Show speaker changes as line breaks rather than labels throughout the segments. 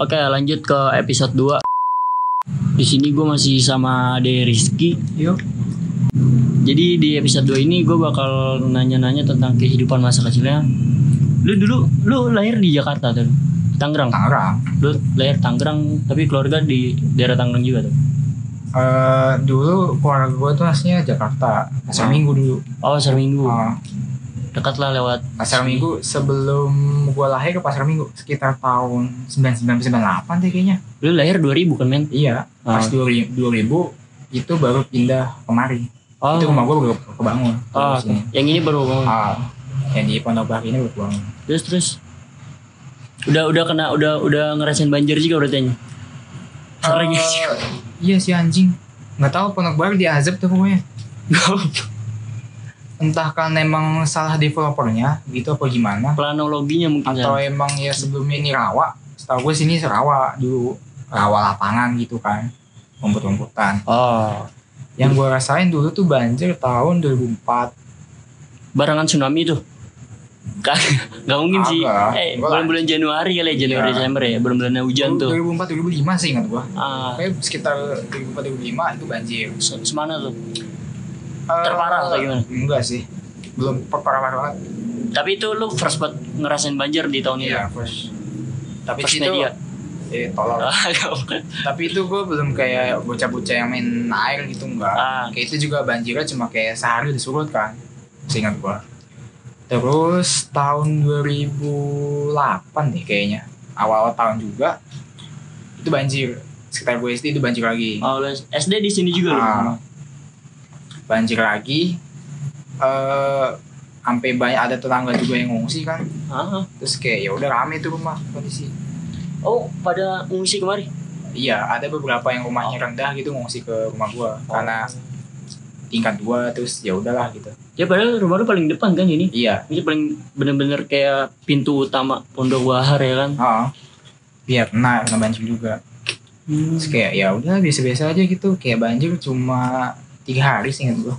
Oke, lanjut ke episode 2. Di sini gue masih sama De Rizky.
Yuk.
Jadi di episode 2 ini gue bakal nanya-nanya tentang kehidupan masa kecilnya. Lu dulu lu lahir di Jakarta tuh. Tangerang.
Tangerang.
Lu lahir Tangerang tapi keluarga di daerah Tangerang juga tuh.
Eh, dulu keluarga gue tuh aslinya Jakarta. Pasar
Hmm.
Minggu dulu.
Oh, Pasar Minggu.
Eh,
Dekat lah lewat
pasar Minggu sebelum gue lahir ke Pasar Minggu sekitar tahun 9998 deh kayaknya.
Lu lahir 2000 kan, men?
Iya. Pas 2000, 2000 itu baru pindah kemari.
Oh,
Itu rumah gue baru kebangun.
oh,
Baru
oke.
sini.
yang ini baru bangun.
Ah, yang di Pondok Bari ini baru kebangun.
Terus terus udah udah kena udah udah ngerasain banjir juga berarti Oh. Sering
Eh,
sih.
Iya si anjing. Nggak tahu Pondok Bari diazab tuh pokoknya. Entah kan emang salah developernya gitu apa gimana.
planologinya mungkin
Atau
ya.
emang ya sebelumnya ini rawa. Setahu gue sini rawa dulu. Rawa lapangan gitu kan. Rumput-rumputan.
Oh,
Yang gue rasain dulu tuh banjir tahun 2004.
barangan tsunami tuh. Kag- Gak mungkin sih.
Agak.
Eh,
Enggak lah.
bulan-bulan Januari kali ya, Januari
Iya.
Desember ya, bulan-bulan hujan tuh.
2004 2005 sih ingat gue.
Ah,
Kayak sekitar 2004 2005 itu banjir.
se- semana tuh?
Eh,
Terparah atau gimana?
Enggak sih. Belum parah banget.
Tapi itu lu first buat ngerasain banjir di tahun ini.
Iya, first. Tapi
First
sih itu
media. Ah,
eh tolol. tapi itu gue belum kayak bocah-bocah yang main air gitu enggak
ah,
kayak itu juga banjirnya cuma kayak sehari udah surut kan seingat gue terus tahun 2008 deh kayaknya awal-awal tahun juga itu banjir sekitar gue SD itu banjir lagi
oh, iya. lu SD di sini juga lu.
Ah. banjir lagi eh sampai banyak ada tetangga juga yang ngungsi kan
Ah.
terus kayak ya udah rame tuh rumah kondisi
Oh, pada ngungsi kemari.
iya ada beberapa yang rumahnya rendah gitu ngungsi ke rumah gue karena tingkat dua terus ya udahlah gitu
Ya padahal rumah lu paling depan kan ini.
iya
Ini paling bener-bener kayak pintu utama Pondok Wahar ya kan.
oh. biar nah kena banjir juga terus kayak ya udah biasa-biasa aja gitu kayak banjir cuma tiga hari sih ingat gue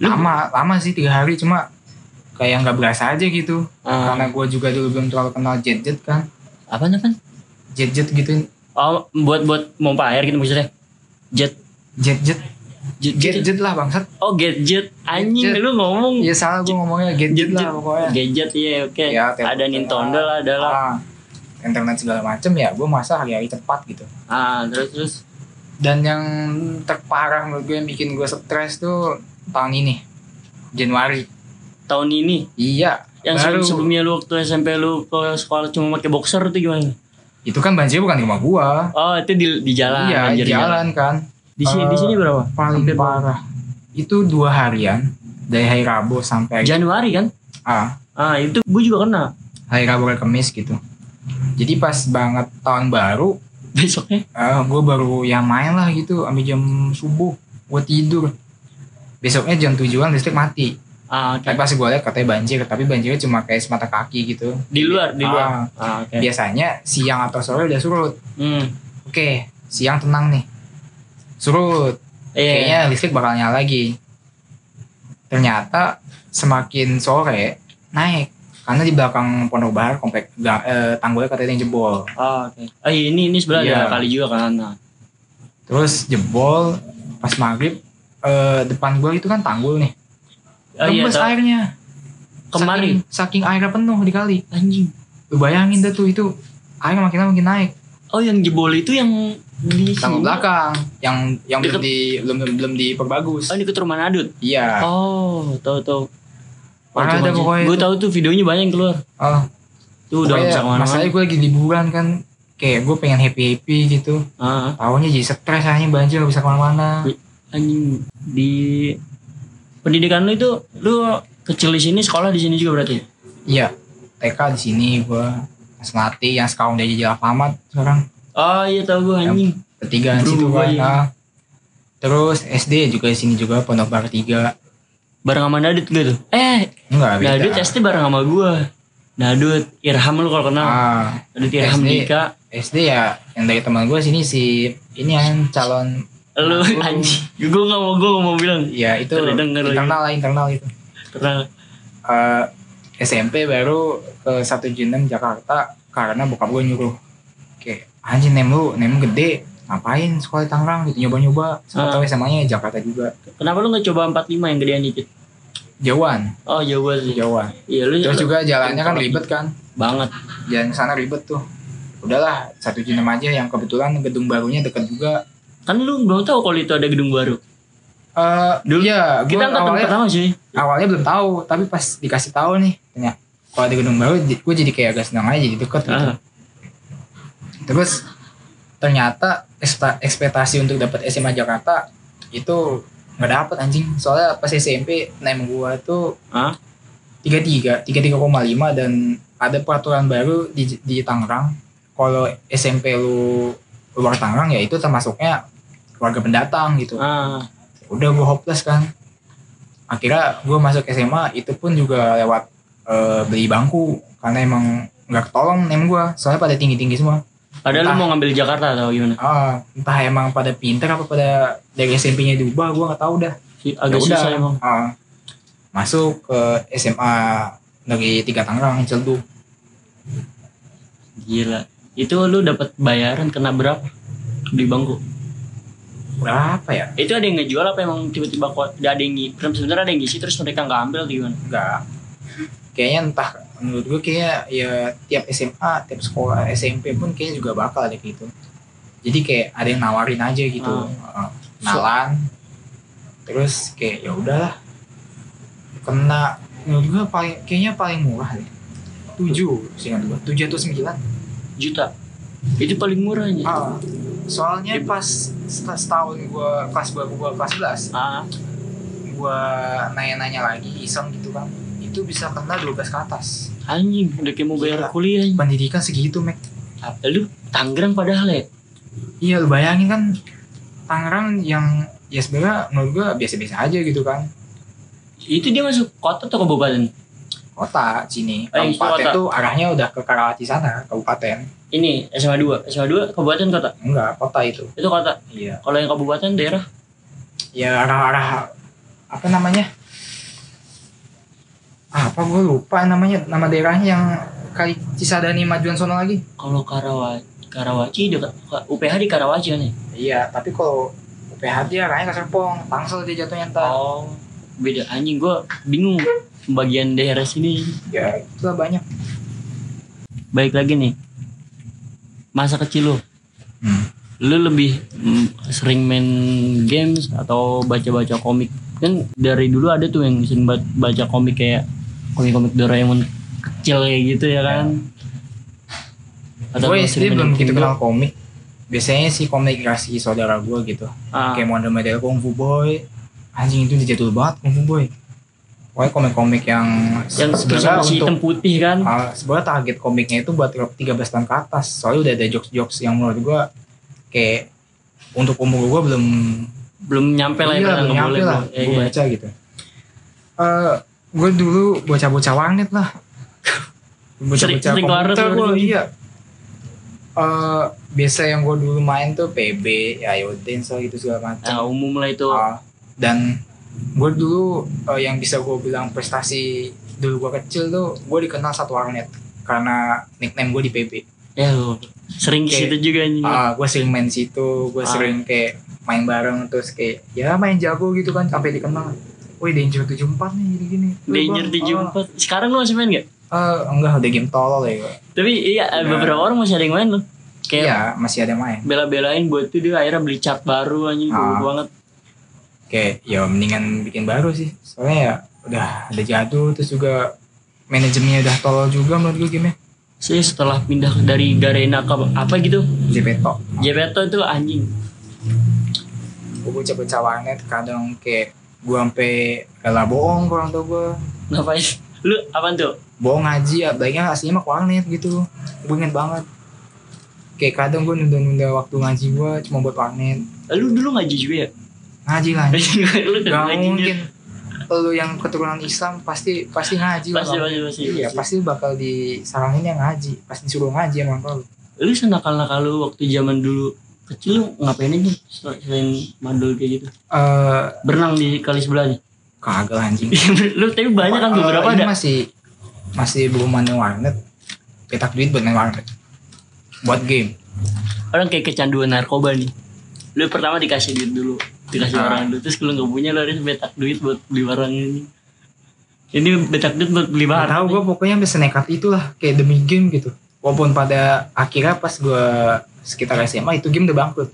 Lu-
lama lama sih tiga hari cuma kayak nggak berasa aja gitu
Ah,
karena gue juga dulu belum terlalu kenal jet jet kan
apa apa?
jet jet gitu
Oh, buat buat pompa air gitu maksudnya. Jet
jet jet
jet,
jet
jet.
jet lah bangsat
Oh, gadget. Anjing
Gadget.
lu ngomong
ya salah gue ngomongnya jet jet lah pokoknya
gadget iya oke.
Ya, telepon
Ada
lah.
Nintendo lah, ada lah.
Ah, internet segala macem ya gue masa hari-hari cepat gitu
Ah, terus terus
dan yang terparah menurut gue yang bikin gue stres tuh tahun ini Januari
tahun ini
iya
yang
baru
sebelumnya lu waktu SMP lu ke sekolah cuma pakai boxer tuh gimana?
itu kan banjir bukan di rumah gua
Oh, itu di di jalan
iya
banjir
di jalan kan
Di sini di
Eh,
sini berapa?
paling
Hampir berapa?
parah itu dua harian dari hari Rabu sampai hari,
Januari kan?
ah,
Ah, itu gue juga kena
hari Rabu ke Kamis gitu jadi pas banget tahun baru
besoknya.
eh gue baru ya main lah gitu sampai jam subuh gue tidur besoknya jam tujuan listrik mati
Ah, oke.
tapi pas gue liat katanya banjir tapi banjirnya cuma kayak semata kaki gitu
Di luar, di luar.
Ah,
Ah, oke.
biasanya siang atau sore udah surut
Hmm.
oke siang tenang nih surut
Iya.
kayaknya listrik bakal nyala lagi ternyata semakin sore naik karena di belakang pondok bahar komplek ga- eh, tanggulnya katanya ada yang jebol
Oh, oke. Ah, ini ini sebelah ada
Iya.
kali juga kan. Nah.
terus jebol pas maghrib eh, depan gua itu kan tanggul nih
Oh, iya,
Rembes
tahu.
airnya
kemarin
saking, saking airnya penuh di kali
anjing.
lu bayangin dah tuh itu air makin lama makin naik
Oh, yang jebol itu yang di sini.
tanggul belakang yang yang belum
Deket-
di belum belum, belum diperbagus
Oh, ini ke rumah Nadut.
iya
Oh, tahu tahu. Oh,
Parah ada pokoknya
Gue
itu.
tahu tuh videonya banyak yang keluar.
Oh,
Tuh udah bisa kemana mana
masalahnya gue lagi liburan kan kayak gue pengen happy happy gitu
Ah,
tahunya jadi stres akhirnya banjir gak bisa kemana-mana
anjing di pendidikan lu itu lu kecil di sini sekolah di sini juga berarti.
iya TK di sini gue Asmati yang sekarang udah jadi Alfamart sekarang
Oh iya tahu gue anjing.
ketigaan
Bro,
situ kan
iya.
ah. terus SD juga di sini juga Pondok Bar 3
Bareng sama Nadut gitu. Eh,
enggak beda
Nadut SD bareng sama gue. Nadut, Irham lu kalau kenal.
ah,
Nadut Irham
SD.
Dika.
SD ya yang dari teman gue sini si ini yang calon
Lu
Aku-
anjing. Gue gak mau gue mau bilang.
ya itu
Ntar didengar lagi.
internal lah internal itu
Karena
Eh, SMP baru ke 176 Jakarta ke karena bokap gue nyuruh kayak anjing nem lu nem gede ngapain sekolah di Tangerang gitu nyoba-nyoba sama
Ah.
tahu SMA nya Jakarta juga
Kenapa lu nggak coba 45 yang gedean dikit?
jauhan
Oh Jawa sih.
jauhan
Iya lu
terus juga jalannya kan ribet kan
banget.
jalan sana ribet tuh udahlah satu jam aja yang kebetulan gedung barunya dekat juga
Kan lu belum tahu kalau itu ada gedung baru.
Eh,
Dulu
iya, gua
Kita angkatan
awalnya, gitu.
pertama sih.
awalnya belum tahu, tapi pas dikasih tahu nih, tanya, kalau ada gedung baru, gue jadi kayak agak senang aja, jadi deket gitu.
Ah,
Terus ternyata ekspe- ekspektasi untuk dapat SMA Jakarta itu nggak dapet anjing, soalnya pas SMP name gue tuh
Hah?
tiga tiga, tiga tiga koma lima dan ada peraturan baru di di Tangerang, kalau SMP lu luar Tangerang ya itu termasuknya warga pendatang gitu
ah.
udah gue hopeless kan akhirnya gue masuk SMA itu pun juga lewat eh, beli bangku karena emang nggak ketolong nem gue soalnya pada tinggi tinggi semua
Padahal lu
Entah.
mau ngambil Jakarta atau gimana?
ah entah emang pada pinter apa pada dari SMP-nya diubah gue nggak tahu dah
Agak
Ya udah.
susah emang.
Ah, masuk ke SMA negeri tiga Tangerang Celduk
Gila. Itu lu dapat bayaran kena berapa di bangku?
berapa ya
Itu ada yang ngejual apa emang tiba-tiba kok ada yang ngisi? Sebenarnya ada yang ngisi terus mereka nggak ambil atau gimana?
enggak kayaknya entah menurut gue kayaknya ya tiap SMA tiap sekolah SMP pun kayaknya juga bakal ada gitu jadi kayak ada yang nawarin aja gitu Heeh. kenalan terus kayak ya udahlah kena menurut gue paling kayaknya paling murah deh tujuh seingat gue tujuh atau sembilan
Juta. Itu paling murahnya.
Ah, soalnya pas set- setahun gue kelas baru gue kelas 11
Ah.
gue nanya-nanya lagi iseng gitu kan itu bisa kena 12 ke atas
Ah, Anjing, udah kayak mau bayar
Gila.
kuliah. anjing.
pendidikan segitu Mac
Apa Lu Tangerang padahal ya.
iya lu bayangin kan Tangerang yang ya sebenarnya menurut gua biasa-biasa aja gitu kan
Itu dia masuk kota atau kabupaten?
kota sini
Eh, itu
kabupaten
kota.
tuh arahnya udah ke Karawaci sana kabupaten
Ini SMA 2, SMA 2 kabupaten kota.
enggak kota itu
Itu kota.
iya
Kalau yang kabupaten daerah
ya arah-arah apa namanya Ah, apa gua lupa namanya nama daerahnya yang kali Cisadani majuan sono lagi
kalau Karawaci Karawaci dekat UPH di Karawaci kan ya?
iya tapi kalau UPH dia arahnya ke Serpong Tangsel dia jatuhnya ntar
Oh, beda anjing gua bingung pembagian daerah sini.
ya itulah banyak
Baik lagi nih. Masa kecil lu, Hmm. lu lebih mm, sering main games atau baca-baca komik? Kan dari dulu ada tuh yang sering ba- baca komik kayak komik-komik Doraemon kecil kayak gitu ya kan. lu
gue SD
sering main
belum gitu
Nintendo?
kenal komik biasanya sih komik kasih saudara gue gitu
Ah,
kayak model-model Kung Fu Boy anjing itu dijadul banget Kung Fu Boy pokoknya komik-komik yang,
yang
sebenarnya
sebenarnya masih hitam
untuk
putih kan.
ah, sebenarnya target komiknya itu buat 13 tahun ke atas soalnya udah ada jokes-jokes yang menurut gue kayak untuk umur gue belum
belum nyampe lah
Iya,
ibaratnya,
belum
nggak
nyampe
boleh,
lah
belum. Iya,
gue
iya.
baca gitu Eh, gue dulu bocah-bocah warnet lah
Sering-
bocah-bocah
sering ke warnet
komputer
lu
gue
dulu.
iya Eh, biasa yang gue dulu main tuh PB ya Yodens lah gitu segala macam
Nah, umum lah itu.
Ah, dan gue dulu eh, yang bisa gue bilang prestasi dulu gue kecil tuh gue dikenal satu warnet karena nickname gue di PB
Ya, lu. sering ke
Kayak-
situ juga anjing.
Ah, gue sering main situ gue
Iya. Ah.
sering kayak main bareng terus kayak ya main jago gitu kan sampai dikenal Woi Danger 74 nih gini gini.
Danger 74. Sekarang lu masih main gak?
ah, enggak udah game tolol ya. gua.
Tapi iya
Nah.
beberapa orang masih ada yang main loh.
Iya,
Kayak
masih ada yang main.
bela-belain buat itu dia akhirnya beli cat baru anjing
Ah.
goblok banget.
Kayak ya mendingan bikin baru sih. Soalnya ya udah ada jadul terus juga manajemennya udah tolol juga menurut gue game-nya.
Saya setelah pindah dari Garena ke apa gitu,
Jepeto.
Jepeto itu anjing.
Gue bocah-bocah warnet kadang kayak gue sampai rela bohong kurang tau gue.
Ngapain? Lu apaan tuh?
bohong ngaji ya baiknya aslinya mah ke warnet gitu gue inget banget kayak kadang gue nunda-nunda waktu ngaji gue cuma buat warnet
Lu dulu ngaji juga ya?
ngaji lah
lu kan
gak
ngaji juga.
mungkin lu yang keturunan Islam pasti pasti ngaji lah
Pasti
Bang.
pasti pasti.
iya
pasti.
pasti bakal disaranin yang ngaji pasti disuruh ngaji emang kalau
Lu senakal-nakal lu waktu zaman dulu kecil lu ngapain aja sel- selain mandul kayak gitu?
eh
Berenang di kali sebelahnya.
kagak lah, anjing
lu tapi banyak Iya, kan
Eh,
beberapa
ini
ada.
masih masih belum ada warnet cetak duit buat main warnet buat game
orang kayak kecanduan narkoba nih lu pertama dikasih duit dulu dikasih
Ah.
orang dulu terus kalau nggak punya lu harus betak duit buat beli barang ini ini betak duit buat beli
Gak
barang
tahu gue pokoknya sampai senekat itulah kayak demi game gitu. Walaupun pada akhirnya pas gue sekitar SMA itu game udah bangkrut.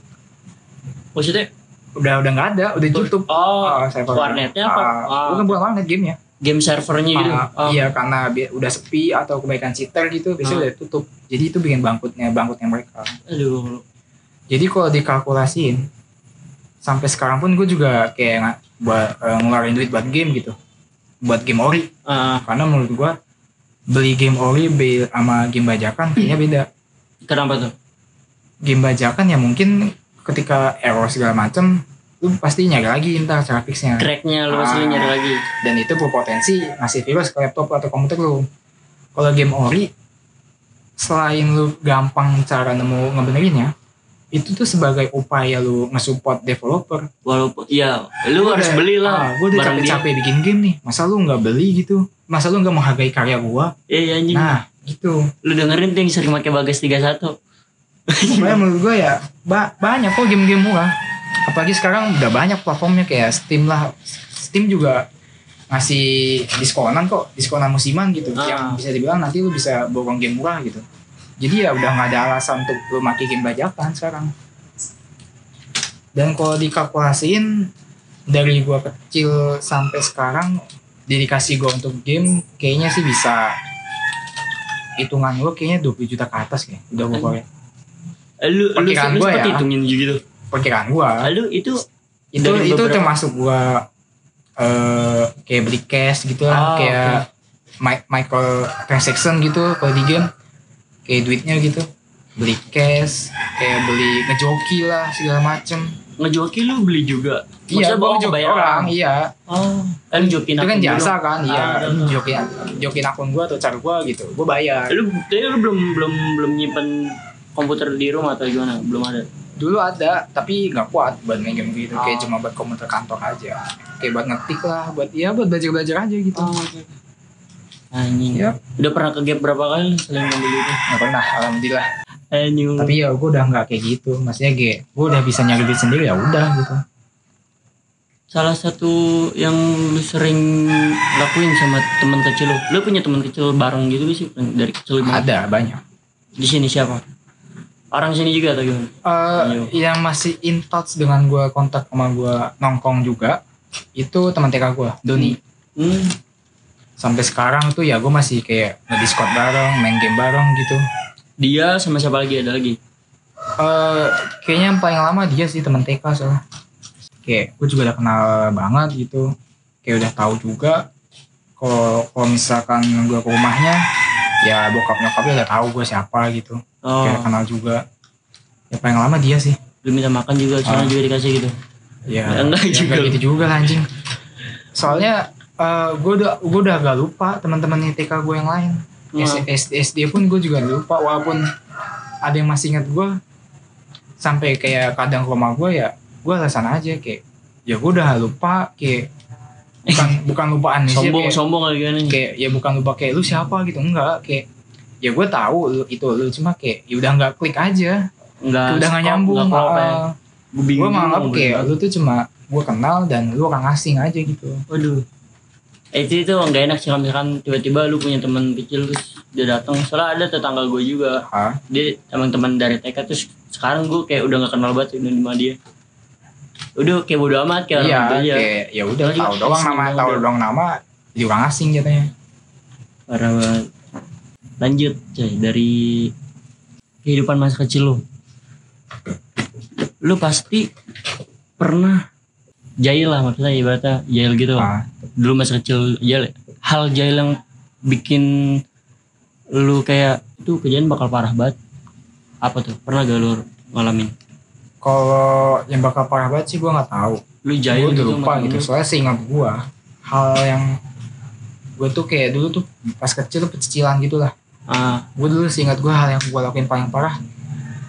maksudnya
Udah udah nggak ada, udah tutup.
oh
Ah, server-
warnetnya apa?
Ah,
Ah.
Bukan bukan warnet game ya.
game servernya gitu Oh.
Iya karena bi- udah sepi atau kebaikan cheater gitu biasanya
Ah.
udah tutup. Jadi itu bikin bangkrutnya bangkrutnya mereka.
aduh
Jadi kalau dikalkulasiin sampai sekarang pun gue juga kayak nggak- buat eh, ngeluarin duit buat game gitu. Buat game ori
Ah,
karena menurut gue beli game ori be- sama game bajakan kayaknya beda.
kenapa tuh
game bajakan ya mungkin ketika error segala macem lu pasti nyari lagi ntar cara fixnya
cracknya lu pasti
Ah.
nyari lagi
dan itu berpotensi ngasih virus ke laptop atau komputer lu kalau game ori selain lu gampang cara nemu ngebenerinnya itu tuh sebagai upaya lu nge-support developer
walaupun ya lu harus
Udah,
beli
ah,
lah
gua udah
barang dia
capek-capek bikin game nih masa lu nggak beli gitu masa lu nggak menghargai karya gua
iya iya, anjing
nah gitu
lu dengerin tuh yang sering pakai bagas 31
Pokoknya menurut gue ya ba- banyak kok game-game murah. Apalagi sekarang udah banyak platformnya kayak Steam lah. Steam juga ngasih diskonan kok, diskonan musiman gitu.
Ah.
Yang bisa dibilang nanti lu bisa borong game murah gitu. Jadi ya udah nggak ada alasan untuk lu maki game bajakan sekarang. Dan kalau dikalkulasiin dari gua kecil sampai sekarang dedikasi gua untuk game kayaknya sih bisa hitungan gua kayaknya 20 juta ke atas kayak udah gua keluarin.
Eh, lu lu, lu
Perkiraan gua
sempat
ya.
hitungin gitu
perkiraan gua
Ah, lu itu
itu
dari
itu
beberapa-
termasuk gua eh kayak beli cash gitu
Ah,
lah kayak mi- micro transaction gitu kalau di game kayak duitnya gitu beli cash kayak beli ngejoki lah segala macem Iya,
ngejoki lu beli juga Maksudnya
gua
bohong
ngejoki
bayar
orang
orang.
iya
oh kan jokin
itu kan
akun
jasa kan iya
Ah, iya, iya.
joki jokin akun gua atau cara gua gitu gua bayar
dulu. lu kayaknya lu belum belum belum nyimpen komputer di rumah atau gimana belum ada
dulu ada tapi nggak kuat buat main game gitu
Ah.
kayak cuma buat komputer kantor aja kayak buat ngetik lah buat ya buat belajar belajar
Ah.
aja gitu
anjing
Yap.
udah pernah ke gap berapa kali lu selain membeli itu
nggak pernah alhamdulillah
anjing
tapi ya gue udah nggak kayak gitu maksudnya gue gue udah bisa nyari duit sendiri ya udah gitu
salah satu yang lu sering lakuin sama teman kecil lu lu punya teman kecil bareng gitu gak sih dari kecil banget
ada banyak
di sini siapa orang sini juga atau gimana
Eh,
Ayo.
yang masih in touch dengan gue kontak sama gue nongkrong juga itu teman TK gue Doni
hmm.
sampai sekarang tuh ya gue masih kayak nge-discord bareng main game bareng gitu
dia sama siapa lagi ada lagi
Eh, kayaknya yang paling lama dia sih teman TK soalnya kayak gue juga udah kenal banget gitu kayak udah tahu juga kalau kalau misalkan gue ke rumahnya ya bokap nyokapnya udah tahu gue siapa gitu
oh
kayak kenal juga ya paling lama dia sih
lu minta makan juga sana
Ah.
juga dikasih gitu
ya,
Ya, enggak
ya,
juga.
enggak gitu juga lah, anjing soalnya gue udah gue udah agak lupa teman-teman TK gue yang lain
Ya
S- SD, SD pun gue juga lupa walaupun ada yang masih ingat gue sampai kayak kadang ke rumah gue ya gue alasan aja kayak ya gue udah lupa kayak bukan bukan lupaan sih
sombong
kayak-
sombong lagi gimana nih
kayak ya bukan lupa kayak lu siapa gitu enggak kayak ya gue tahu lu, itu lu cuma kayak ya udah nggak klik aja
nggak
udah nggak nyambung
nggak apa
ah.
gue bingung
gue malah
mau
kayak
bilang.
lu tuh cuma gue kenal dan lu orang asing aja gitu
waduh Eh, itu itu nggak enak sih kalau misalkan tiba-tiba lu punya teman kecil terus dia datang soalnya ada tetangga gue juga
Hah?
dia teman-teman dari TK terus sekarang gue kayak udah nggak kenal banget dengan sama dia udah kayak bodo amat kayak
iya
orang aja
kayak ya udah
Orang
tahu
juga
doang
asing,
nama
ya
tahu
udah.
doang nama jadi orang asing katanya
parah banget lanjut coy dari kehidupan masa kecil lu lu pasti pernah jahil lah maksudnya ibaratnya jahil gitu
Ah,
dulu masa kecil jahil ya? hal jahil yang bikin lu kayak itu kejadian bakal parah banget apa tuh pernah gak lu ngalamin
kalau yang bakal parah banget sih gue nggak tahu
lu
gue
jahil
udah
gitu
lupa
sama
gitu
temen lu?
soalnya seingat gue hal yang gue tuh kayak dulu tuh pas kecil tuh pecicilan gitu lah
ah
gue dulu seingat gue hal yang gue lakuin paling parah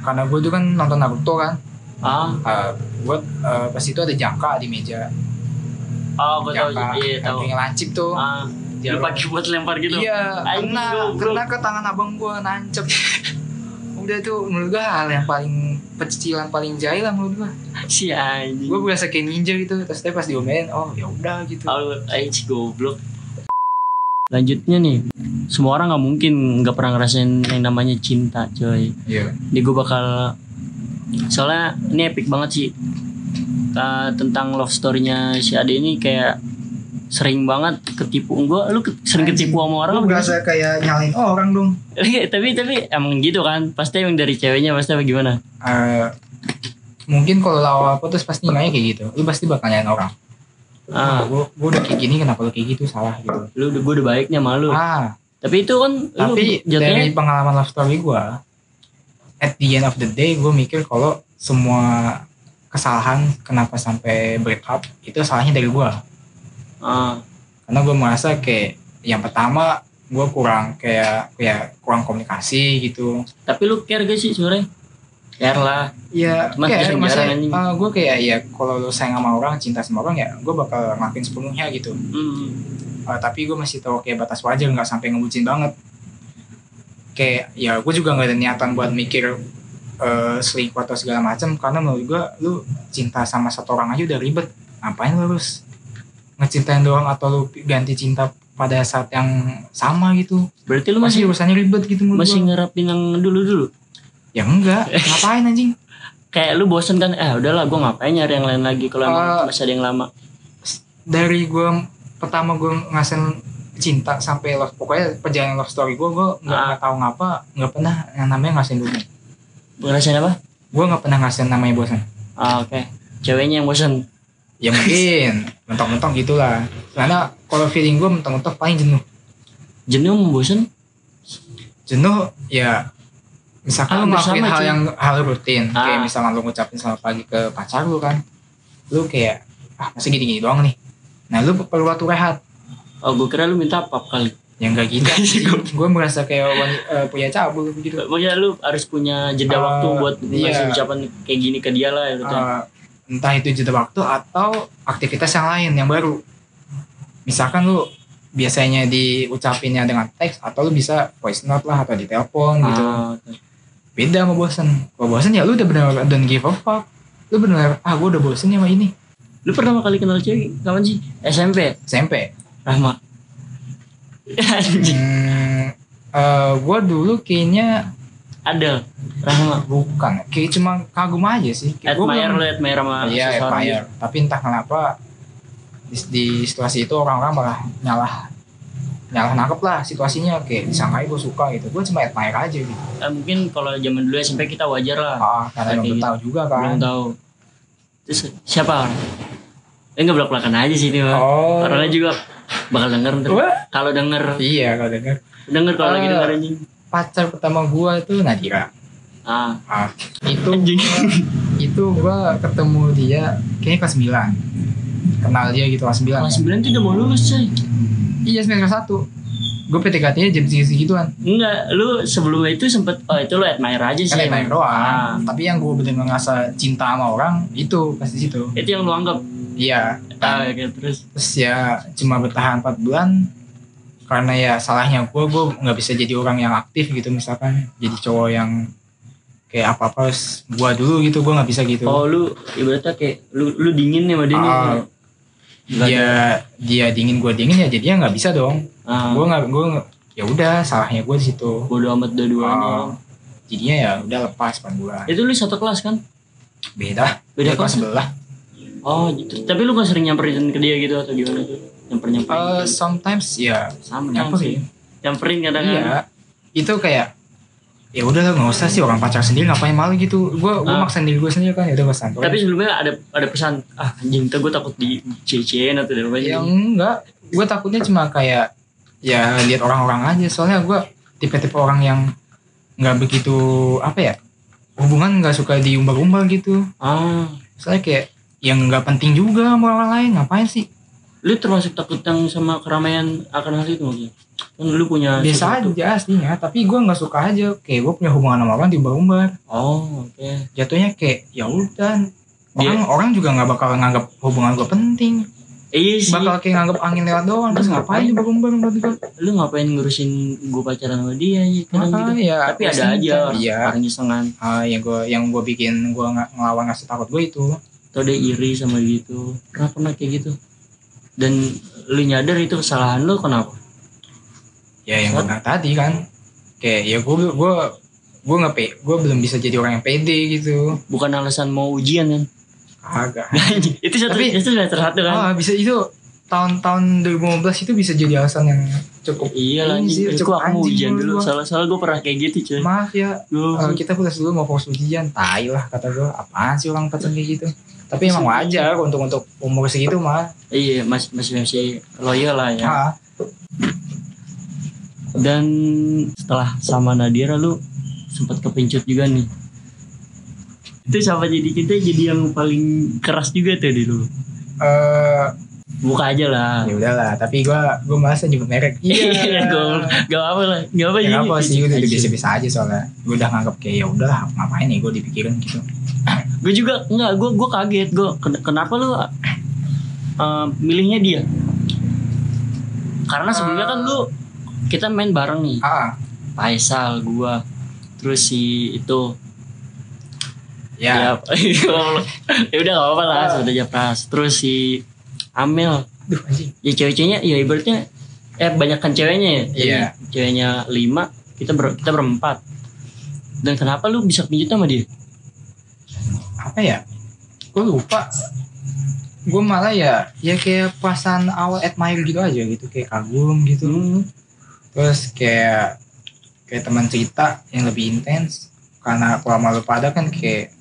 karena gue tuh kan nonton Naruto kan ah,
ah
buat pas itu ada jangka di meja
oh gue tau
jangka
iya
yang
tau
punya lancip tuh
ah Lu
jarum.
pakai buat lempar gitu.
Iya,
Anjing,
kena,
goblok.
kena ke tangan abang gua nancep. Udah tuh menurut gua hal yang paling pecicilan paling jahil lah menurut gua.
Si anjing.
Gua berasa kayak ninja gitu, terus dia pas diomelin, oh ya udah gitu.
Aul, anjing goblok. Lanjutnya nih, semua orang nggak mungkin nggak pernah ngerasain yang namanya cinta, coy.
Iya.
Jadi gue bakal soalnya ini epic banget sih Ka- tentang love story-nya si Ade ini kayak sering banget ketipu gua lu ke- sering
Anjing.
ketipu sama orang
Lu
apa gimana?
berasa kayak nyalain orang dong.
Iya, tapi tapi emang gitu kan pasti emang dari ceweknya pasti apa gimana
Eh, mungkin kalau lawa putus pasti nanya kayak gitu. Lu pasti bakal nyalain orang. Ah,
ah
gua, gua udah kayak gini kenapa lu kayak gitu salah gitu.
lu udah gue udah baiknya malu
Ah,
tapi itu kan
tapi
lu jatuhnya
dari pengalaman love story gua at the end of the day gua mikir kalau semua kesalahan kenapa sampai break up itu salahnya dari gua.
ah,
karena gue merasa kayak yang pertama gue kurang kayak kayak kurang komunikasi gitu
tapi lu care gak sih sebenarnya care lah
ya
Cuman
kayak
jarang-jarang
maksudnya
anjing.
gue kayak ya kalau lu sayang sama orang cinta sama orang ya gue bakal ngelakuin sepenuhnya gitu
hmm.
Eh, tapi gue masih tahu kayak batas wajar nggak sampai ngebucin banget kayak ya gue juga nggak ada niatan buat mikir eh, selingkuh atau segala macam karena menurut gue lu cinta sama satu orang aja udah ribet ngapain lu harus ngecintain doang atau lu ganti cinta pada saat yang sama gitu
berarti lu
masih
masih
urusannya ribet gitu menurut
masih
gua.
ngerapin yang dulu dulu
ya enggak ngapain anjing
kayak lu bosen kan eh udahlah gua ngapain nyari yang lain lagi kalau emang
Ah.
masih ada yang lama
dari gue pertama gue ngasen cinta sampai love pokoknya perjalanan love story gue gue nggak
Ah.
nggak tahu ngapa nggak pernah yang namanya ngasen dulu
ngerasain apa
gue nggak pernah ngasen namanya bosan
Ah, oke ceweknya yang bosen
ya mungkin mentok-mentok gitulah karena kalau feeling gue mentok-mentok paling jenuh
jenuh sama bosen
jenuh ya
Ah,
misalkan lu
bersama,
ngelakuin hal
cuy.
yang hal rutin
Ah.
kayak misalkan lu ngucapin selamat pagi ke pacar lu kan lu kayak ah masih gini-gini doang nih nah lu perlu waktu rehat
oh gua kira lu minta pap kali
yang enggak gitu gue merasa kayak wani- eh, punya cabul gitu
maksudnya lu harus punya jeda
Ah,
waktu buat
iya.
ngasih ucapan kayak gini ke dia lah gitu kan
Eh, entah itu jeda waktu atau aktivitas yang lain yang baru misalkan lu biasanya diucapinnya dengan teks atau lu bisa voice note lah atau di telepon gitu
Ah, oke.
beda sama bosen kalau bosen ya lu udah bener don't give a fuck lu bener ah gue udah bosen ya sama ini
Lu pertama kali kenal cewek kapan sih? SMP?
SMP
Rahma. Anjing.
hmm, gue dulu kayaknya
Ada Rahma.
bukan kayak cuma kagum aja sih Kayak gua
Admire
belum-
lu admire sama
Iya,
seseorang
fire.
gitu.
Tapi entah kenapa di, di situasi itu orang-orang malah nyalah nyalah nangkep lah situasinya kayak disangkai gue suka gitu gue cuma admire aja gitu
Eh, mungkin kalau zaman dulu SMP kita wajar lah.
ah karena
Kayak
belum
gitu.
tahu juga
Belum
kan
tahu. Terus siapa orang? Eh enggak belak-belakan aja sih ini, Bang.
oh
Orangnya juga bakal denger ntar.
Wah.
Kalau denger,
iya kalau denger
denger kalau lagi
Ah.
denger anjing.
pacar pertama gue tuh Nadira
Ah,
ah, itu
Anjing.
gua- itu gue ketemu dia kayaknya kelas 9 kenal dia gitu kelas 9
kelas 9 tuh udah mau lulus, coy.
iya semester 1 gue PTKT-nya jam segituan
Enggak, lu sebelumnya itu sempet oh itu lu admire aja sih.
kan main
emang.
doang
Ah.
tapi yang gue bener ngerasa cinta sama orang itu pasti situ
Ah. Itu yang lu anggap.
iya
Ah, oke, terus
terus ya cuma bertahan 4 bulan karena ya salahnya gue gue nggak bisa jadi orang yang aktif gitu misalkan jadi cowok yang kayak apa apa harus gue dulu gitu gue nggak bisa gitu
Oh lu ibaratnya kayak lu lu dingin nih sama dia nih.
Ah, iya.
Nggak ada.
dia dia dingin gue dingin ya jadinya nggak bisa dong
Ah,
gue nggak gue ya udah salahnya gue di situ
bodo amat dua-duanya.
Ah, jadinya ya udah lepas 4 bulan
Itu lu satu kelas kan?
beda
Beda
Iya, kelas ya?
kelas. ya?
sebelah
Oh, gitu. tapi lu gak sering nyamperin ke dia gitu atau gimana tuh? Nyamperin nyamperin.
Eh,
gitu.
sometimes ya
Sama sih.
nyamperin.
Nyamperin kadang-kadang.
Iya. Itu kayak ya udah lah nggak usah sih orang pacar sendiri ngapain malu gitu. Gua gua
Ah.
maksain diri gua sendiri kan ya udah pesan.
Tapi sebelumnya ada ada pesan, ah anjing, tuh gue takut di CCN atau dari apa
yang
gitu.
Ya enggak gua takutnya cuma kayak ya lihat orang-orang aja soalnya gua tipe-tipe orang yang nggak begitu apa ya hubungan nggak suka diumbar-umbar gitu
Ah,
soalnya kayak yang nggak penting juga sama orang lain ngapain sih
lu termasuk takut yang sama keramaian akan hal itu mungkin? Kan lu punya
biasa
sesuatu.
aja aslinya tapi gua nggak suka aja kayak gua punya hubungan sama orang diumbar-umbar
Oh, oke.
jatuhnya kayak ya udah
Dia-
orang orang juga nggak bakal nganggap hubungan gua penting
Iya sih.
bakal kayak nganggep angin lewat doang terus ngapain bareng-bareng berarti kan
Lu ngapain ngurusin gue pacaran sama dia ya kadang
Makanya
gitu.
ya
Tapi ada aja orang
iya
orang nyesengan.
Ah, yang gue yang gue bikin gue ngelawan ngasih takut gue itu
Atau dia iri sama gitu. Pernah pernah kayak gitu. Dan lu nyadar itu kesalahan lu kenapa?
ya
Iya.
yang gue bilang tadi kan kayak ya gue gue gue nggak pe gue belum bisa jadi orang yang pede gitu
Bukan alasan mau ujian kan?
agak
Iya. itu satu
Tapi-
itu semester satu kan?
ah bisa itu tahun-tahun 2015 itu bisa jadi alasan yang cukup
Iya lah,
Anjir,
anjing. Itu
cukup
aku mau
anjing
ujian
lu
dulu.
gua.
Salah-salah gue pernah kayak gitu, cuy.
maaf ya
Gua-
kalau kita pulas dulu mau fokus ujian tai lah kata gue apaan sih orang pacaran kayak gitu tapi emang wajar untuk untuk umur segitu mah
Iya, masih masih masih loyal lah ya.
Ah,
Dan setelah sama Nadira lu sempat kepincut juga nih. Itu sama jadi kita jadi yang paling keras juga tuh di lu.
eh,
Buka aja lah.
ya udahlah tapi gue gue merasa nyebut merek
Iya, Gol. Gak apa lah. Gak apa
Ya
jadi
apa Iya. sih
kepincut
udah
aja.
biasa-biasa aja soalnya Gue udah nganggap kayak ya udah ngapain nih gue dipikirin gitu
Gue juga enggak, gue gue kaget. Gue kenapa lu eh, milihnya dia? Karena sebelumnya kan lu kita main bareng nih.
ah
Faisal gua terus si itu ya
ya,
ya udah gak apa-apa lah
Ah.
sudah aja pras terus si Amel
Duh anjing
ya cewek-ceweknya ya ibaratnya eh banyakkan ceweknya ya Jadi
Iya.
ceweknya lima kita ber- kita berempat dan kenapa lu bisa pinjut sama dia
apa ya gue lupa gue malah ya ya kayak pasan awal admire gitu aja gitu kayak kagum gitu terus kayak kayak teman cerita yang lebih intens karena kalau malu pada kan kayak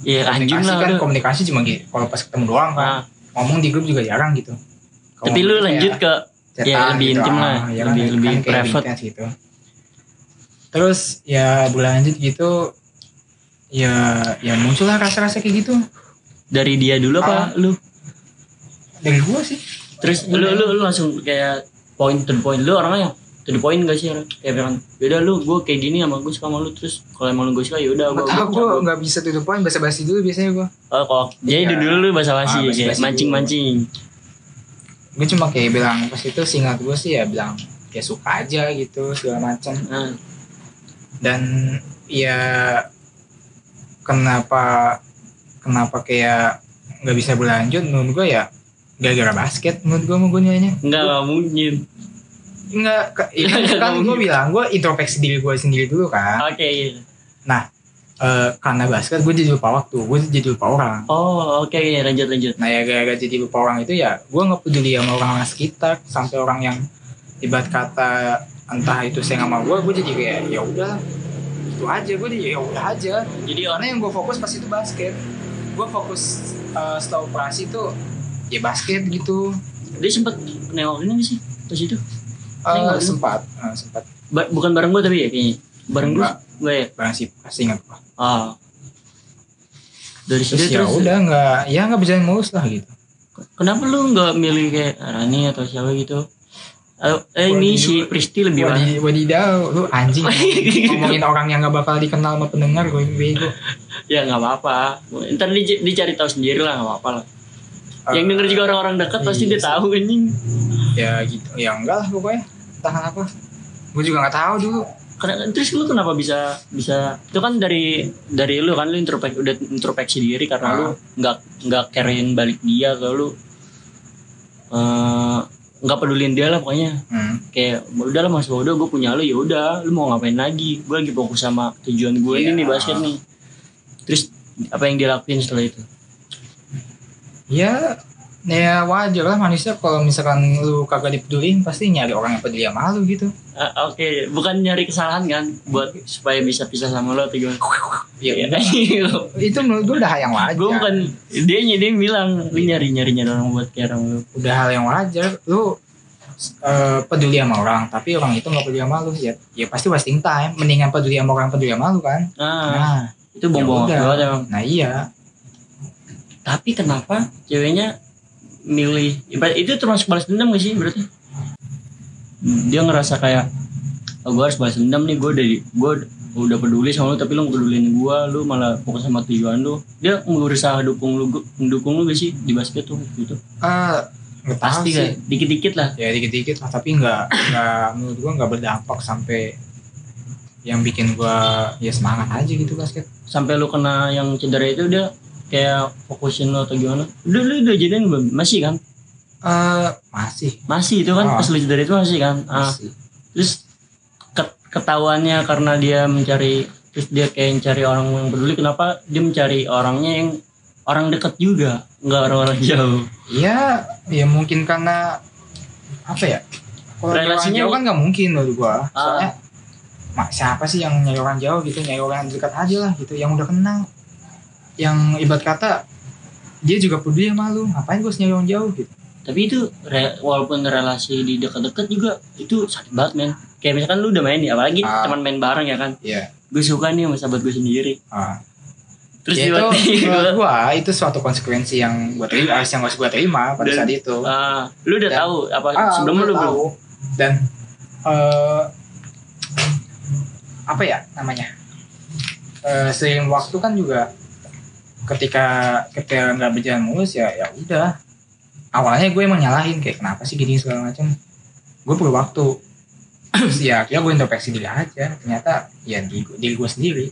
ya anjing
komunikasi
lah
kan
udah.
komunikasi cuma gitu kalau pas ketemu doang kan
Nah,
ngomong di grup juga jarang gitu Kalau
tapi lu
ngomong kayak-
lanjut ke
cetak
Ya, lebih intim lah.
ah, ya
Lebih-
kan,
lebih
kan kayak
private.
intens gitu terus ya berlanjut gitu ya ya muncullah rasa-rasa kayak gitu
dari dia dulu
Ah.
apa lu
dari gua sih
terus lu lu, lu langsung kayak point to the point lu orangnya yang to the point gak sih orang? kayak bilang beda lu gue kayak gini sama gue suka sama lu terus kalau emang lu gue suka yaudah gue
Aku gua nggak bisa tutup poin basa-basi dulu biasanya gua
oh kok jadi
Iya.
dulu lu basa basi
Ah, basa-basi
kayak
dulu.
mancing mancing
gua cuma kayak bilang pas itu singkat gua sih ya bilang kayak suka aja gitu segala macam
nah,
dan ya kenapa kenapa kayak nggak bisa berlanjut menurut gua ya gara-gara basket menurut gua mau gua nilainya
nggak nggak mungkin
Enggak, ke, ya kan, kan gue bilang gue introspeksi diri gue sendiri dulu kan.
oke iya.
Eh, karena basket gue jadi lupa waktu, gue jadi lupa orang.
oh oke iya, lanjut lanjut
Nah ya gara-gara jadi lupa orang itu ya gue nggak peduli sama orang-orang sekitar sampai orang yang ibarat kata entah itu sayang sama gue, gue jadi kayak ya udah itu aja gue jadi ya udah aja.
jadi orang
Karena yang gue fokus pas itu basket. Gue fokus eh setelah operasi itu ya basket gitu.
dia sempet nengok ini nggak sih pas itu
Eh,
Nengok dulu.
sempat, eh, sempat
Ba- bukan bareng gue tapi ya kayaknya bareng gue
Nggak.
gue ya
barang sih pasti ingat gue.
ah dari situ
Terus ya
terus
udah nggak ya nggak berjalan mulus lah gitu.
Kenapa lu nggak milih kayak Rani atau siapa gitu? Eh, eh, ini
Waduh.
si Pristi lebih banyak.
Wadi, wadidaw, lu anjing
Oh, iya.
ngomongin orang yang gak bakal dikenal sama pendengar gue bego.
ya nggak apa-apa. Ntar di- dicari tahu sendiri lah nggak apa-apa lah. Yang denger juga orang-orang dekat pasti dia
Iya sih.
tahu anjing.
Eh, Ya gitu, ya enggak lah pokoknya. Entah kenapa. Gue juga gak tahu dulu.
Kena- Terus lu kenapa bisa bisa itu kan dari dari lu kan lu introspek udah introspeksi diri karena
Ah.
lu nggak nggak carryin balik dia ke lu eh, nggak peduliin dia lah pokoknya
Hmm.
kayak udah lah mas udah gue punya lu ya udah lu mau ngapain lagi gue lagi fokus sama tujuan gue
Iya.
ini nih basket nih terus apa yang dia lakuin setelah itu
Ya ya wajar lah manusia kalau misalkan lu kagak dipeduliin pasti nyari orang yang peduli sama lu gitu.
Ah, oke bukan nyari kesalahan kan buat supaya bisa pisah sama lo atau gimana
Iya.
gue
Itu menurut gue udah hal yang wajar.
bukan dia dia bilang lu nyari nyari nyari orang buat kayak orang lu
Udah hal yang wajar. Lu eh, peduli sama orang tapi orang itu gak peduli sama lu ya, ya pasti wasting time mendingan peduli sama orang yang peduli sama lu kan
ah
nah
itu bom bom
Ya udah.
banget emang
nah iya
tapi kenapa ceweknya milih ibarat- itu termasuk balas dendam gak sih berarti Hmm. dia ngerasa kayak oh, gue harus balas dendam nih gue dari gue udah peduli sama lu tapi lu gak pedulin gua lu malah fokus sama tujuan lu dia berusaha dukung lu mendukung lu gak sih di basket tuh gitu
Eh, nggak tahu
pasti
sih.
kan dikit-dikit lah
ya dikit-dikit lah tapi nggak nggak menurut gua nggak berdampak sampai yang bikin gua ya semangat aja gitu basket
sampai lu kena yang cedera itu dia kayak fokusin lu atau gimana udah lu udah jadian belum masih kan
Eh masih
masih itu kan
Ah.
pas lu cedera itu masih kan Ah,
masih
terus ke- ketahuannya karena dia mencari terus dia kayak mencari orang yang peduli kenapa dia mencari orangnya yang orang dekat juga nggak orang-orang jauh
ya ya mungkin karena apa ya kalau nyari orang
Relasinya-
jauh kan nggak mungkin menurut gua
Ah.
soalnya mak siapa sih yang nyari orang jauh gitu nyari orang dekat aja lah gitu yang udah kenal yang ibarat kata dia juga peduli sama lu ngapain gua harus nyari orang jauh gitu
tapi itu re- walaupun relasi di dekat-dekat juga itu sakit banget men kayak misalkan lu udah main nih apalagi
Ah.
teman main bareng ya kan
Iya.
gue suka nih sama sahabat gue sendiri gitu.
Ah.
terus
Ya,
dia
itu menurut gua itu suatu konsekuensi yang gua terima harus- yang harus gua terima pada
Dan-
saat itu
Ah, lu udah
Dan-
tahu apa
Ah,
sebelum lu
gua
belum?
tahu. dan eh, apa ya namanya Eh, seiring waktu kan juga ketika ketika nggak berjalan mulus ya ya udah awalnya gue emang nyalahin kayak kenapa sih gini segala macam gue perlu waktu Terus ya akhirnya gue introspeksi diri aja ternyata ya diri, gue- diri gue sendiri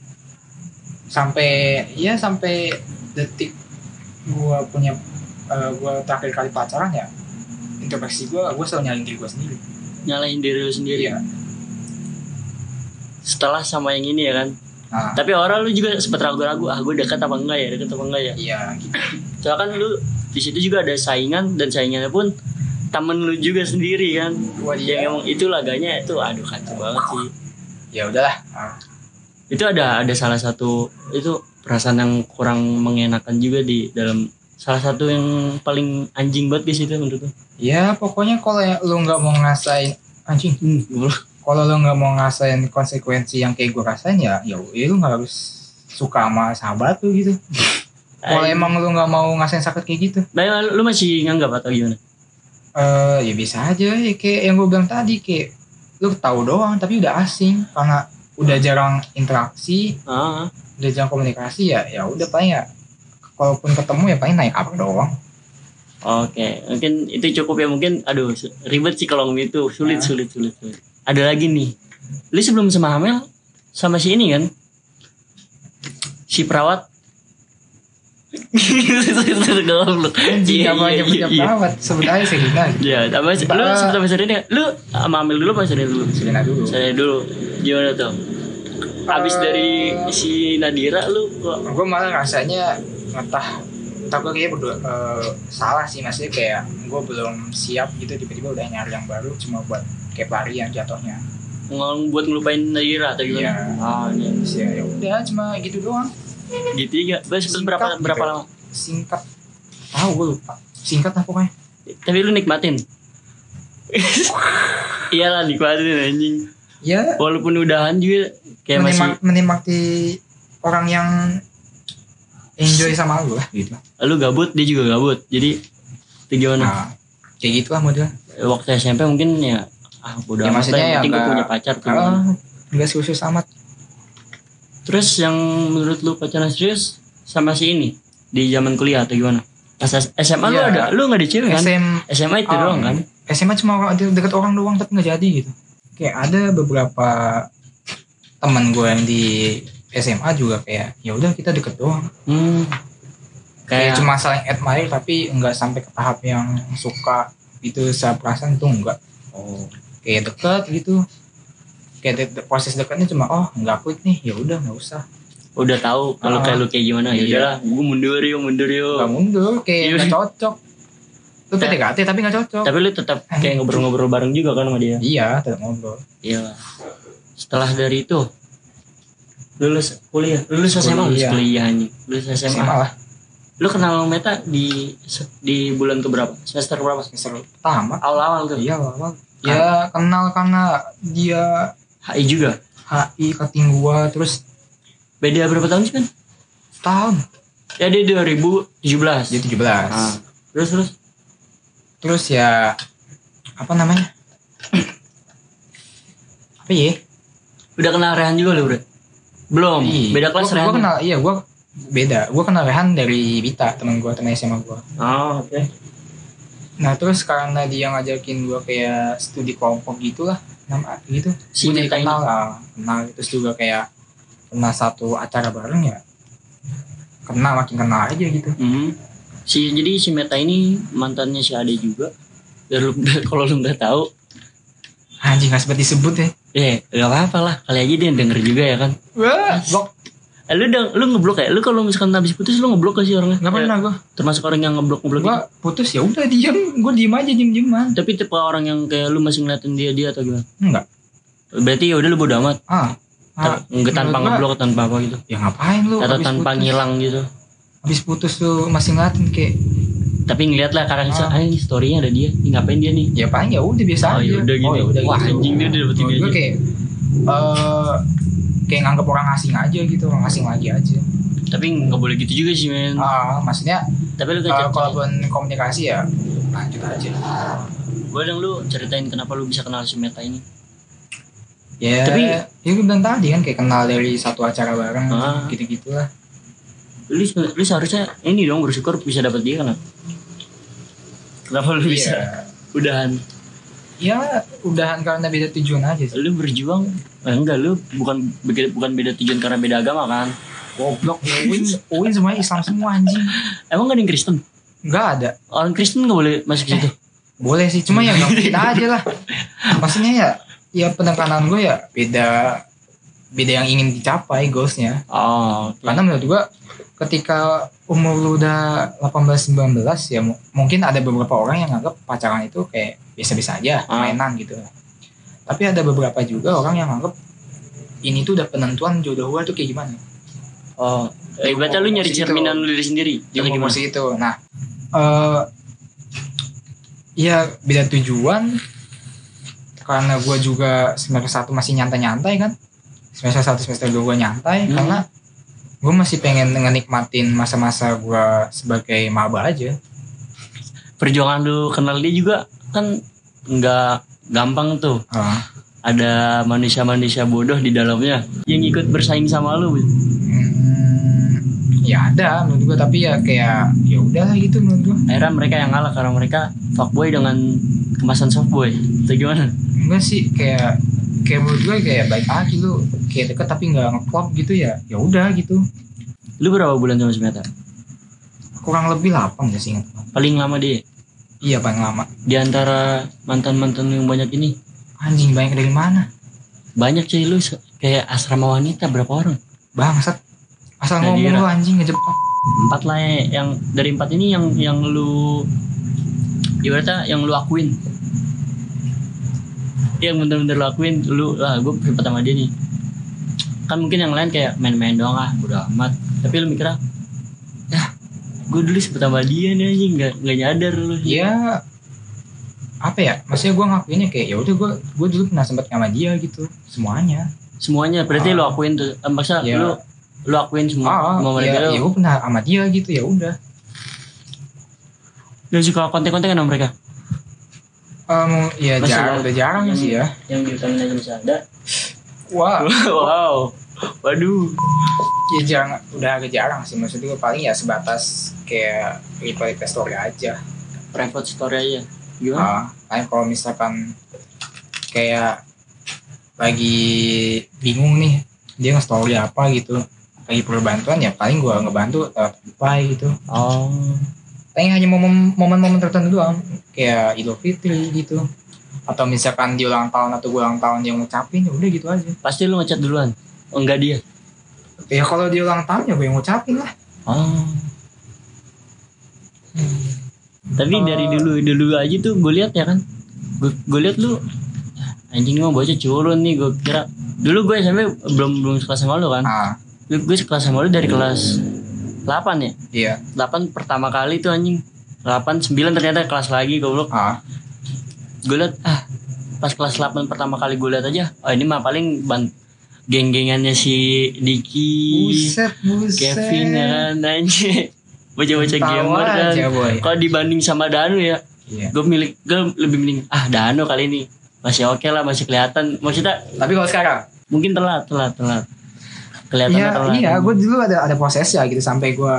sampai ya sampai detik gue punya eh, gue terakhir kali pacaran ya introspeksi gue gue selalu nyalahin diri gue sendiri
Nyalahin diri lu sendiri.
Iya.
Setelah sama yang ini ya kan.
Ah.
Tapi orang lu juga sempet ragu-ragu, ah gue dekat apa enggak ya, dekat apa enggak ya.
iya gitu
Soalnya kan lu di situ juga ada saingan dan saingannya pun temen lu juga sendiri kan.
Wah, iya.
Yang emang itu laganya itu aduh kacau banget sih.
ya udahlah Ah,
Itu ada ada salah satu itu perasaan yang kurang mengenakan juga di dalam salah satu yang paling anjing banget di situ menurut gue.
ya pokoknya kalau ya lu nggak mau ngerasain anjing kalau lu nggak mau ngerasain konsekuensi yang kayak gue rasain ya ya ya lu nggak harus suka sama sahabat lu gitu kalau emang lu nggak mau ngerasain sakit kayak gitu
Nah, lu masih nganggap atau gimana?
eh ya bisa aja ya kayak yang gue bilang tadi kayak lu tahu doang tapi udah asing karena udah jarang interaksi
Ah,
udah jarang komunikasi ya ya udah paling ya kalaupun ketemu ya paling naik apa doang
oke. Mungkin itu cukup ya mungkin. Aduh, su- ribet sih kalau ngomong itu. Sulit,
Ah.
sulit, sulit, sulit. Ada lagi nih. Lu sebelum sama Amel sama si ini kan? Si perawat. Goblok.
anjing
Iya,
apa
iya,
nyebut
iya,
nyebut
iya.
banget sebenarnya segina gitu
Iya, apa sih? Lu
Ba-
sebelum Serena, lu sama Amel dulu apa Serena dulu?
segina dulu
Serena dulu. Gimana tuh? Abis
Eh.
dari si Nadira lu kok
gue malah rasanya ngetah tapi gue kayaknya berdua, eh, salah sih maksudnya kayak gue belum siap gitu tiba-tiba udah nyari yang baru cuma buat kayak pelarian jatuhnya
ngomong buat ngelupain Nadira atau gimana?
Iya.
Ah, iya.
terus ya ya udah cuma gitu doang
gitu ya terus berapa
Singkat
berapa
gitu.
lama
singkat tahu gue lupa singkat lah pokoknya
tapi lu nikmatin iyalah nikmatin anjing
ya
walaupun udahan juga kayak masih
menimak, menimati orang yang enjoy sama lu lah gitu
lu gabut dia juga gabut jadi itu gimana
nah kayak gitu lah modelnya
waktu SMP mungkin ya ah udah
Ya, maksudnya ya
penting gue
nggak-
punya pacar tuh
kalau Ah, nggak khusus amat
terus yang menurut lu pacaran serius sama si ini di zaman kuliah atau gimana pas S- SMA lu
Iya.
ada lu nggak ada cewek kan
SM
SMA itu
Um,
doang kan
SMA cuma orang de- deket orang doang tapi nggak jadi gitu kayak ada beberapa teman gue yang di SMA juga kayak ya udah kita deket doang
hmm.
kayak
kayak
Iya, cuma saling admire tapi nggak sampai ke tahap yang suka gitu secara perasaan tuh enggak oh kayak deket gitu kayak de- de- proses deketnya cuma oh nggak klik nih ya udah nggak usah
udah tahu kalau
Ah.
kayak lu kayak gimana ya
Iya.
udahlah gue mundur yuk mundur yuk
nggak mundur
Iya.
kayak nggak cocok lu
Ya.
PDKT tapi nggak cocok
Tapi lu tetap kayak ngobrol-ngobrol bareng juga kan sama dia.
iya tetap ngobrol
Iya. Setelah dari itu lulus kuliah, lulus SMA, lulus
Kuliah.
kuliah anjing. Lulus SMA.
SMA lah
Lu kenal Meta di di bulan keberapa? Semester berapa?
semester pertama
Awal-awal tuh.
Iya awal Ya kenal karena dia
HI juga.
HI kating gua terus
Beda berapa tahun sih, kan?
tahun
Ya dia 2017.
dia 17.
Ah. Terus terus
Terus ya apa namanya? apa ya?
udah kenal Rehan juga lu, Bro. Belum,
Iya.
beda kelas
Gua- gua
Rehan.
kenal iya gua beda gua kenal Rehan dari Bita teman gua teman SMA gua
Oh, oke.
nah terus karena dia ngajakin gua kayak studi kelompok gitulah nama gitu
Si
gua jadi
Bita ini.
kenal lah kenal terus juga kayak pernah satu acara bareng ya kenal makin kenal aja gitu
Hmm. Si jadi si Meta ini mantannya si Ade juga. Biar lu- kalau lu nggak tahu,
anjing nggak sempat disebut ya
ya nggak apa-apa lah. Kali aja dia denger juga ya kan.
wah blok
Eh, lu udah lu ngeblok ya? Lu kalau misalkan habis putus lu ngeblok gak sih orangnya?
nggak
Eh,
pernah gua
termasuk orang yang ngeblok ngeblok
gua
gitu.
putus ya udah diem gua diem aja diem dieman
Tapi tipe orang yang kayak lu masih ngeliatin dia dia atau gimana?
enggak
Berarti ya udah lu bodo amat.
ah, ah
Ta- nggak tanpa
menurut gua-
ngeblok tanpa apa gitu.
ya ngapain lu
Atau
habis
tanpa
putus?
ngilang gitu.
habis putus tuh masih ngeliatin kayak
Tapi ngeliat lah kadang
Ah.
ah. ini storynya ada dia. Ini ngapain dia nih?
ya paling ya udah biasa
Oh,
aja
yaudah gitu.
oh ya udah
Wah,
gitu
anjing dia udah dapet
Menurut
tiga
gue
aja.
kayak eh kayak nganggap orang asing aja gitu orang asing lagi aja
Tapi nggak boleh gitu juga sih men.
ah maksudnya
Tapi lu
eh,
kan
kalau pun komunikasi ya lanjut aja
Gue dong lu ceritain kenapa lu bisa kenal si Meta ini.
ya tapi
Tapi-
ya gue bilang tadi kan kayak kenal dari satu acara bareng
Ah.
gitu gitulah
Lu, se- lu seharusnya ini dong bersyukur bisa dapet dia kenapa? Kenapa
Iya.
lu bisa udahan?
ya udahan karena beda tujuan aja sih
Lu berjuang? Eh, enggak lu bukan beda- bukan beda tujuan karena beda agama kan?
goblok ya Uin Uin semuanya Islam semua anjing
Emang gak ada yang Kristen?
nggak ada
Orang Kristen gak boleh masuk situ.
boleh sih cuma ya nggak kita aja lah maksudnya ya ya penekanan gue ya beda beda yang ingin dicapai goalsnya
Oh, oke.
Karena menurut gua ketika umur lu udah 18-19 ya mu- mungkin ada beberapa orang yang anggap pacaran itu kayak biasa-biasa aja,
Ah.
mainan gitu. Tapi ada beberapa juga orang yang anggap ini tuh udah penentuan jodoh gua tuh kayak gimana.
Oh, eh, berarti lu nyari
Situ.
cerminan lu diri sendiri. Jadi
Yang
gimana?
emosi itu. Nah, eh ya beda tujuan karena gua juga semester 1 masih nyantai-nyantai kan. Semester 1 semester 2 gua nyantai
Hmm.
karena gua masih pengen ngenikmatin masa-masa gua sebagai maba aja.
Perjuangan lu kenal dia juga kan nggak gampang tuh.
Eh,
Ada manusia-manusia bodoh di dalamnya yang ikut bersaing sama lu.
hmm, ya ada menurut gua tapi ya kayak ya udahlah gitu menurut gua.
Akhirnya mereka yang ngalah karena mereka fuckboy dengan kemasan softboy. Itu gimana?
Enggak sih kayak kayak menurut gua kayak baik aja lu kayak deket tapi nggak ngeklop gitu ya. Ya udah gitu.
Lu berapa bulan sama si Meta?
Kurang lebih 8 gak sih ingat gua.
Paling lama dia
Iya paling lama.
di antara mantan-mantan lu yang banyak ini.
Anjing banyak dari mana?
Banyak cuy lu se- kayak asrama wanita berapa orang?
Bangsat. Asal
Nah,
ngomong
dia-
lu anjing ngejebak.
Empat lah ya, yang dari empat ini yang yang lu ibaratnya yang lu akuin. Yang bener-bener lu akuin lu lah gue sempet sama dia nih. Kan mungkin yang lain kayak main-main doang ah, udah amat. Tapi lu mikirnya ya gue dulu sempet sama dia nih anjing nggak nggak nyadar lu
Ya apa ya? Maksudnya gua ngakuinnya kayak ya udah gua gua dulu pernah sempat sama dia gitu. Semuanya.
semuanya berarti
Ah.
lu akuin tuh eh, maksudnya
Iya.
lu lu akuin semua
Ah,
Iya, sama mereka
ya,
lu
ya gua pernah sama dia gitu ya udah.
lu suka konten-konten kan sama mereka
Em, ya
Masih
jarang,
ada- Iya.
udah jarang
yang-
sih ya.
yang di vitamin aja masih ada
Wah,
wow waduh
ya jarang, udah agak jarang sih. Maksud gua paling ya sebatas kayak reply ke story aja.
private story aja gimana
Ah, paling kalau misalkan kayak lagi bingung nih, dia nge-story apa gitu. Lagi perlu bantuan ya paling gua ngebantu lewat reply gitu.
oh
Paling hanya momen- momen-momen tertentu doang, kayak Idul Fitri gitu. Atau misalkan di ulang tahun atau gua ulang tahun dia ngucapin, ya udah gitu aja.
pasti lu ngechat duluan oh, enggak dia
Ya kalau di ulang tahun ya gue yang ngucapin lah.
oh tapi
Eh.
dari dulu dulu aja tuh gue lihat ya kan gue gue lihat lu anjing mau bocah culun nih gue kira dulu gue SMP belum belum suka sama lu kan
Ah,
gue sekelas sama lu dari kelas 8 ya
iya.
8 pertama kali tuh anjing 8, 9 ternyata kelas lagi goblok
Ah,
Gue liat ah Pas kelas 8 pertama kali gue liat aja Oh ini mah paling ban Geng-gengannya si Diki
Buset, buset.
Kevin ya kan anjing Baca-baca gamer kan
aja, boy.
Kalau dibanding sama Danu ya
Iya.
Gue milik Gue lebih mending Ah Danu kali ini Masih oke lah masih kelihatan Maksudnya
Tapi kalau sekarang,
mungkin Ya, telat Hmm. telat telat kelihatannya
Iya,
kalau
iya, gue dulu ada ada prosesnya gitu sampai gue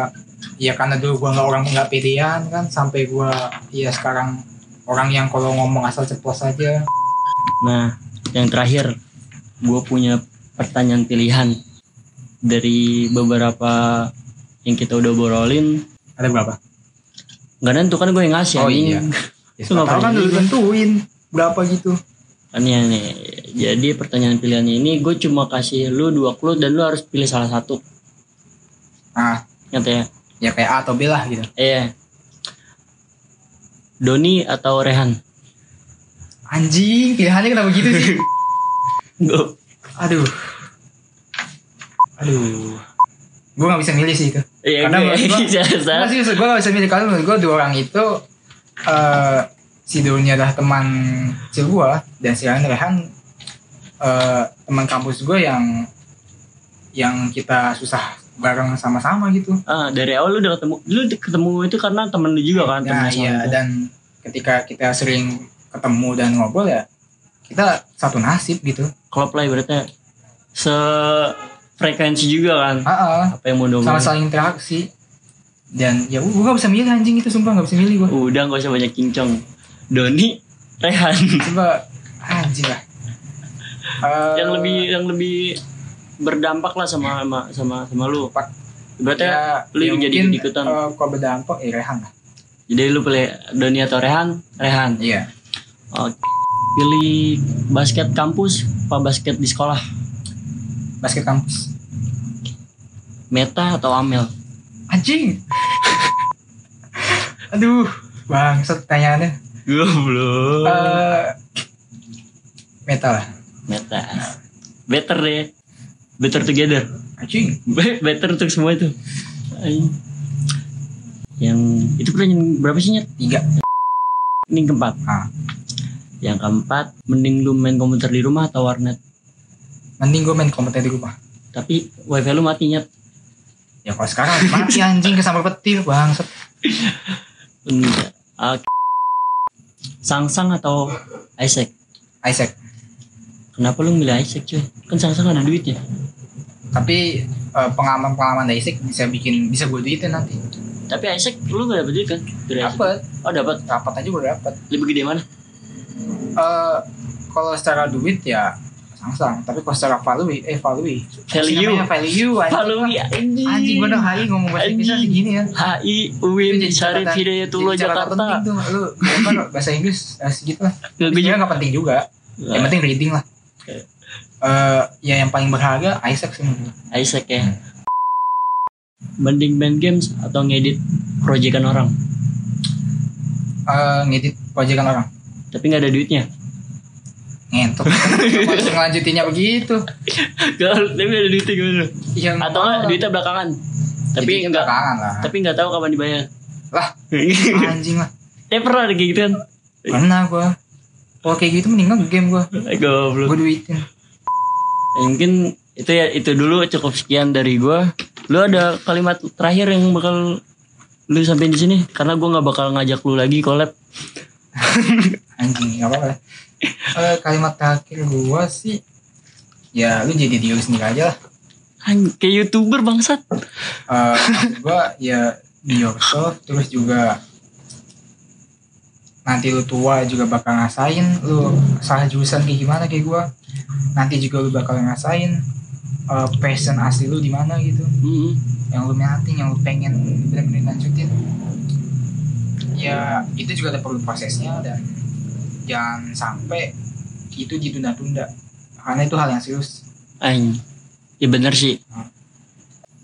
ya karena dulu gue nggak orang nggak pedean kan sampai gue ya sekarang orang yang kalau ngomong asal ceplos aja
Nah, yang terakhir, gue punya pertanyaan pilihan dari beberapa yang kita udah obrolin.
ada berapa?
Gak nentu kan gue yang ngasih.
Oh,
anjing.
iya. Ya,
Itu ngapain
tahu kan dulu
juga.
tentuin berapa gitu.
Kan ya, nih. Jadi pertanyaan pilihannya ini gue cuma kasih lu dua clue dan lu harus pilih salah satu.
Ah,
Nyata ya?
ya kayak A atau B lah gitu.
Iya. Doni atau Rehan?
Anjing, pilihannya kenapa gitu sih?
Gue
Aduh. Aduh. Gue gak bisa milih sih itu.
Iya,
Karena
gue-
menurut gua-
Salah
Gue
satu.
sih gue gak bisa milih karena menurut gue dua orang itu eh si Doni adalah teman kecil gue dan si Rehan Rehan eh, teman kampus gue yang yang kita susah bareng sama-sama gitu.
Ah, dari awal lu udah ketemu. Lu ketemu itu karena temen lu juga kan? temen
Nah
SMA
iya
lu.
dan ketika kita sering ketemu dan ngobrol ya kita satu nasib gitu.
klub lah ibaratnya sefrekuensi juga kan
Heeh.
apa yang mau dong
sama saling interaksi dan ya gue gak bisa milih anjing itu sumpah gak bisa milih gue
udah gak usah banyak kincong Doni Rehan
coba anjing lah Eh,
yang lebih yang lebih berdampak lah sama sama sama, sama lu
Pak.
ibaratnya
ya,
lu
ya
jadi
mungkin,
ikut-ikutan.
eh, kalau berdampak ya Rehan lah
jadi lu pilih Doni atau Rehan Rehan
iya
Oke. pilih basket kampus apa basket di sekolah
basket kampus
Meta atau Amel
anjing aduh bangsat tanyaannya
belum
Eh metal lah
Meta better deh better together
anjing
Be- better untuk semua itu Ay. yang itu pertanyaan berapa sih Nyet?
tiga
ini keempat
Ah.
yang keempat mending lu main komputer di rumah atau warnet
mending gue main kompeten di rumah
tapi wifi lu mati Nyet.
ya kalau sekarang mati anjing kesambar petir bangsat
Enggak. Oke. Sangsang atau Isaac
Isaac
kenapa lu milih Isaac cuy kan Sangsang ada duitnya
tapi eh, pengalaman-pengalaman dari Isaac bisa bikin bisa gue duitin nanti
tapi Isaac lu gak dapet duit kan dari Isaac?
dapat
oh dapat
dapat aja gue dapat
lebih gede mana
Eh kalau secara duit ya sang-sang tapi kalau secara value eh value
Value.
Namanya value anjing,
Palungi ya, anjing
anjing gue udah hari ngomong bahasa Inggris
Anjing.
segini ya
HI
Itu
UIN
jadi
Syarif
catatan-
Hidayatullah
jadi catatan penting
Jakarta
tuh lu apa, lu, bahasa Inggris eh, segitu lah
Nggak,
tapi
gua
juga nggak penting juga
juga-
yang penting reading lah
Oke.
Eh ya yang paling berharga Isaac sih menurut gua.
Isaac ya mending main games atau ngedit proyekan orang
Eh ngedit proyekan orang
tapi nggak ada duitnya
ngentot langsung lanjutinnya begitu
Gak- tapi ada duitnya gimana
yang
atau nggak duitnya belakangan tapi
Jadi
nggak
belakangan lah
tapi nggak tahu kapan dibayar
Lah. anjing lah
eh pernah ada kayak gitu kan
pernah gue kalau kayak gitu mendingan game gue
Eh, goblok
gue duitin
Ya, mungkin itu ya itu dulu cukup sekian dari gua lu ada kalimat terakhir yang bakal lu sampein di sini karena gua nggak bakal ngajak lu lagi collab
anjing gak apa-apa Eh, kalimat terakhir gue sih ya lu jadi diri lu sendiri aja lah
Anj- kayak youtuber bangsat
Eh, maksud gue ya be yourself terus juga nanti lu tua juga bakal ngasain lu salah jurusan kayak gimana kayak gue nanti juga lu bakal ngasain eh, passion asli lu di mana gitu
Mm-mm.
yang lu minati yang lu pengen benar-benar lanjutin ya itu juga ada perlu prosesnya dan jangan sampai itu ditunda-tunda karena itu hal yang serius
Aing. Ya bener sih.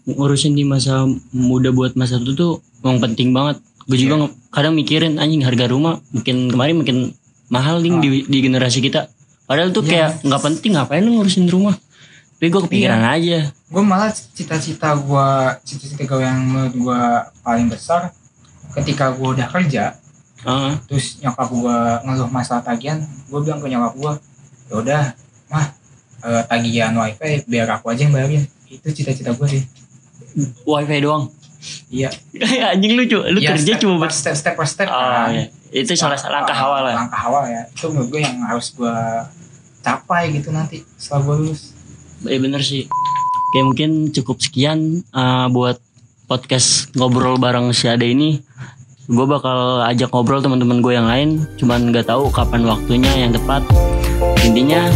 Ngurusin di masa muda buat masa itu tuh memang penting banget. Gue
Iya.
juga nge- kadang mikirin anjing harga rumah mungkin kemarin makin mahal nih
Ah.
di, di generasi kita. Padahal tuh
Iya.
kayak nggak penting ngapain lu ngurusin rumah. Tapi gue kepikiran aja.
gue malah cita-cita gue cita-cita gue yang menurut gue paling besar ketika gue udah kerja
Heeh.
terus nyokap gue ngeluh masalah tagihan gue bilang ke nyokap gue ya udah mah eh, tagihan wifi biar aku aja yang bayarin itu cita-cita gue sih
wifi doang.
iya
Eh, anjing lu cu- lu
Iya,
kerja
step
cuma buat
per step step per step
Ah,
kan.
iya. Itu salah salah langkah
Ah,
awal lah.
langkah awal ya itu menurut gue yang harus gue capai gitu nanti setelah gue lulus
Ya Iya, bener sih. Oke mungkin cukup sekian eh, buat podcast ngobrol bareng si Ade ini. Gue bakal ajak ngobrol teman-teman gue yang lain. Cuman nggak tahu kapan waktunya yang tepat. Intinya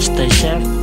stay safe,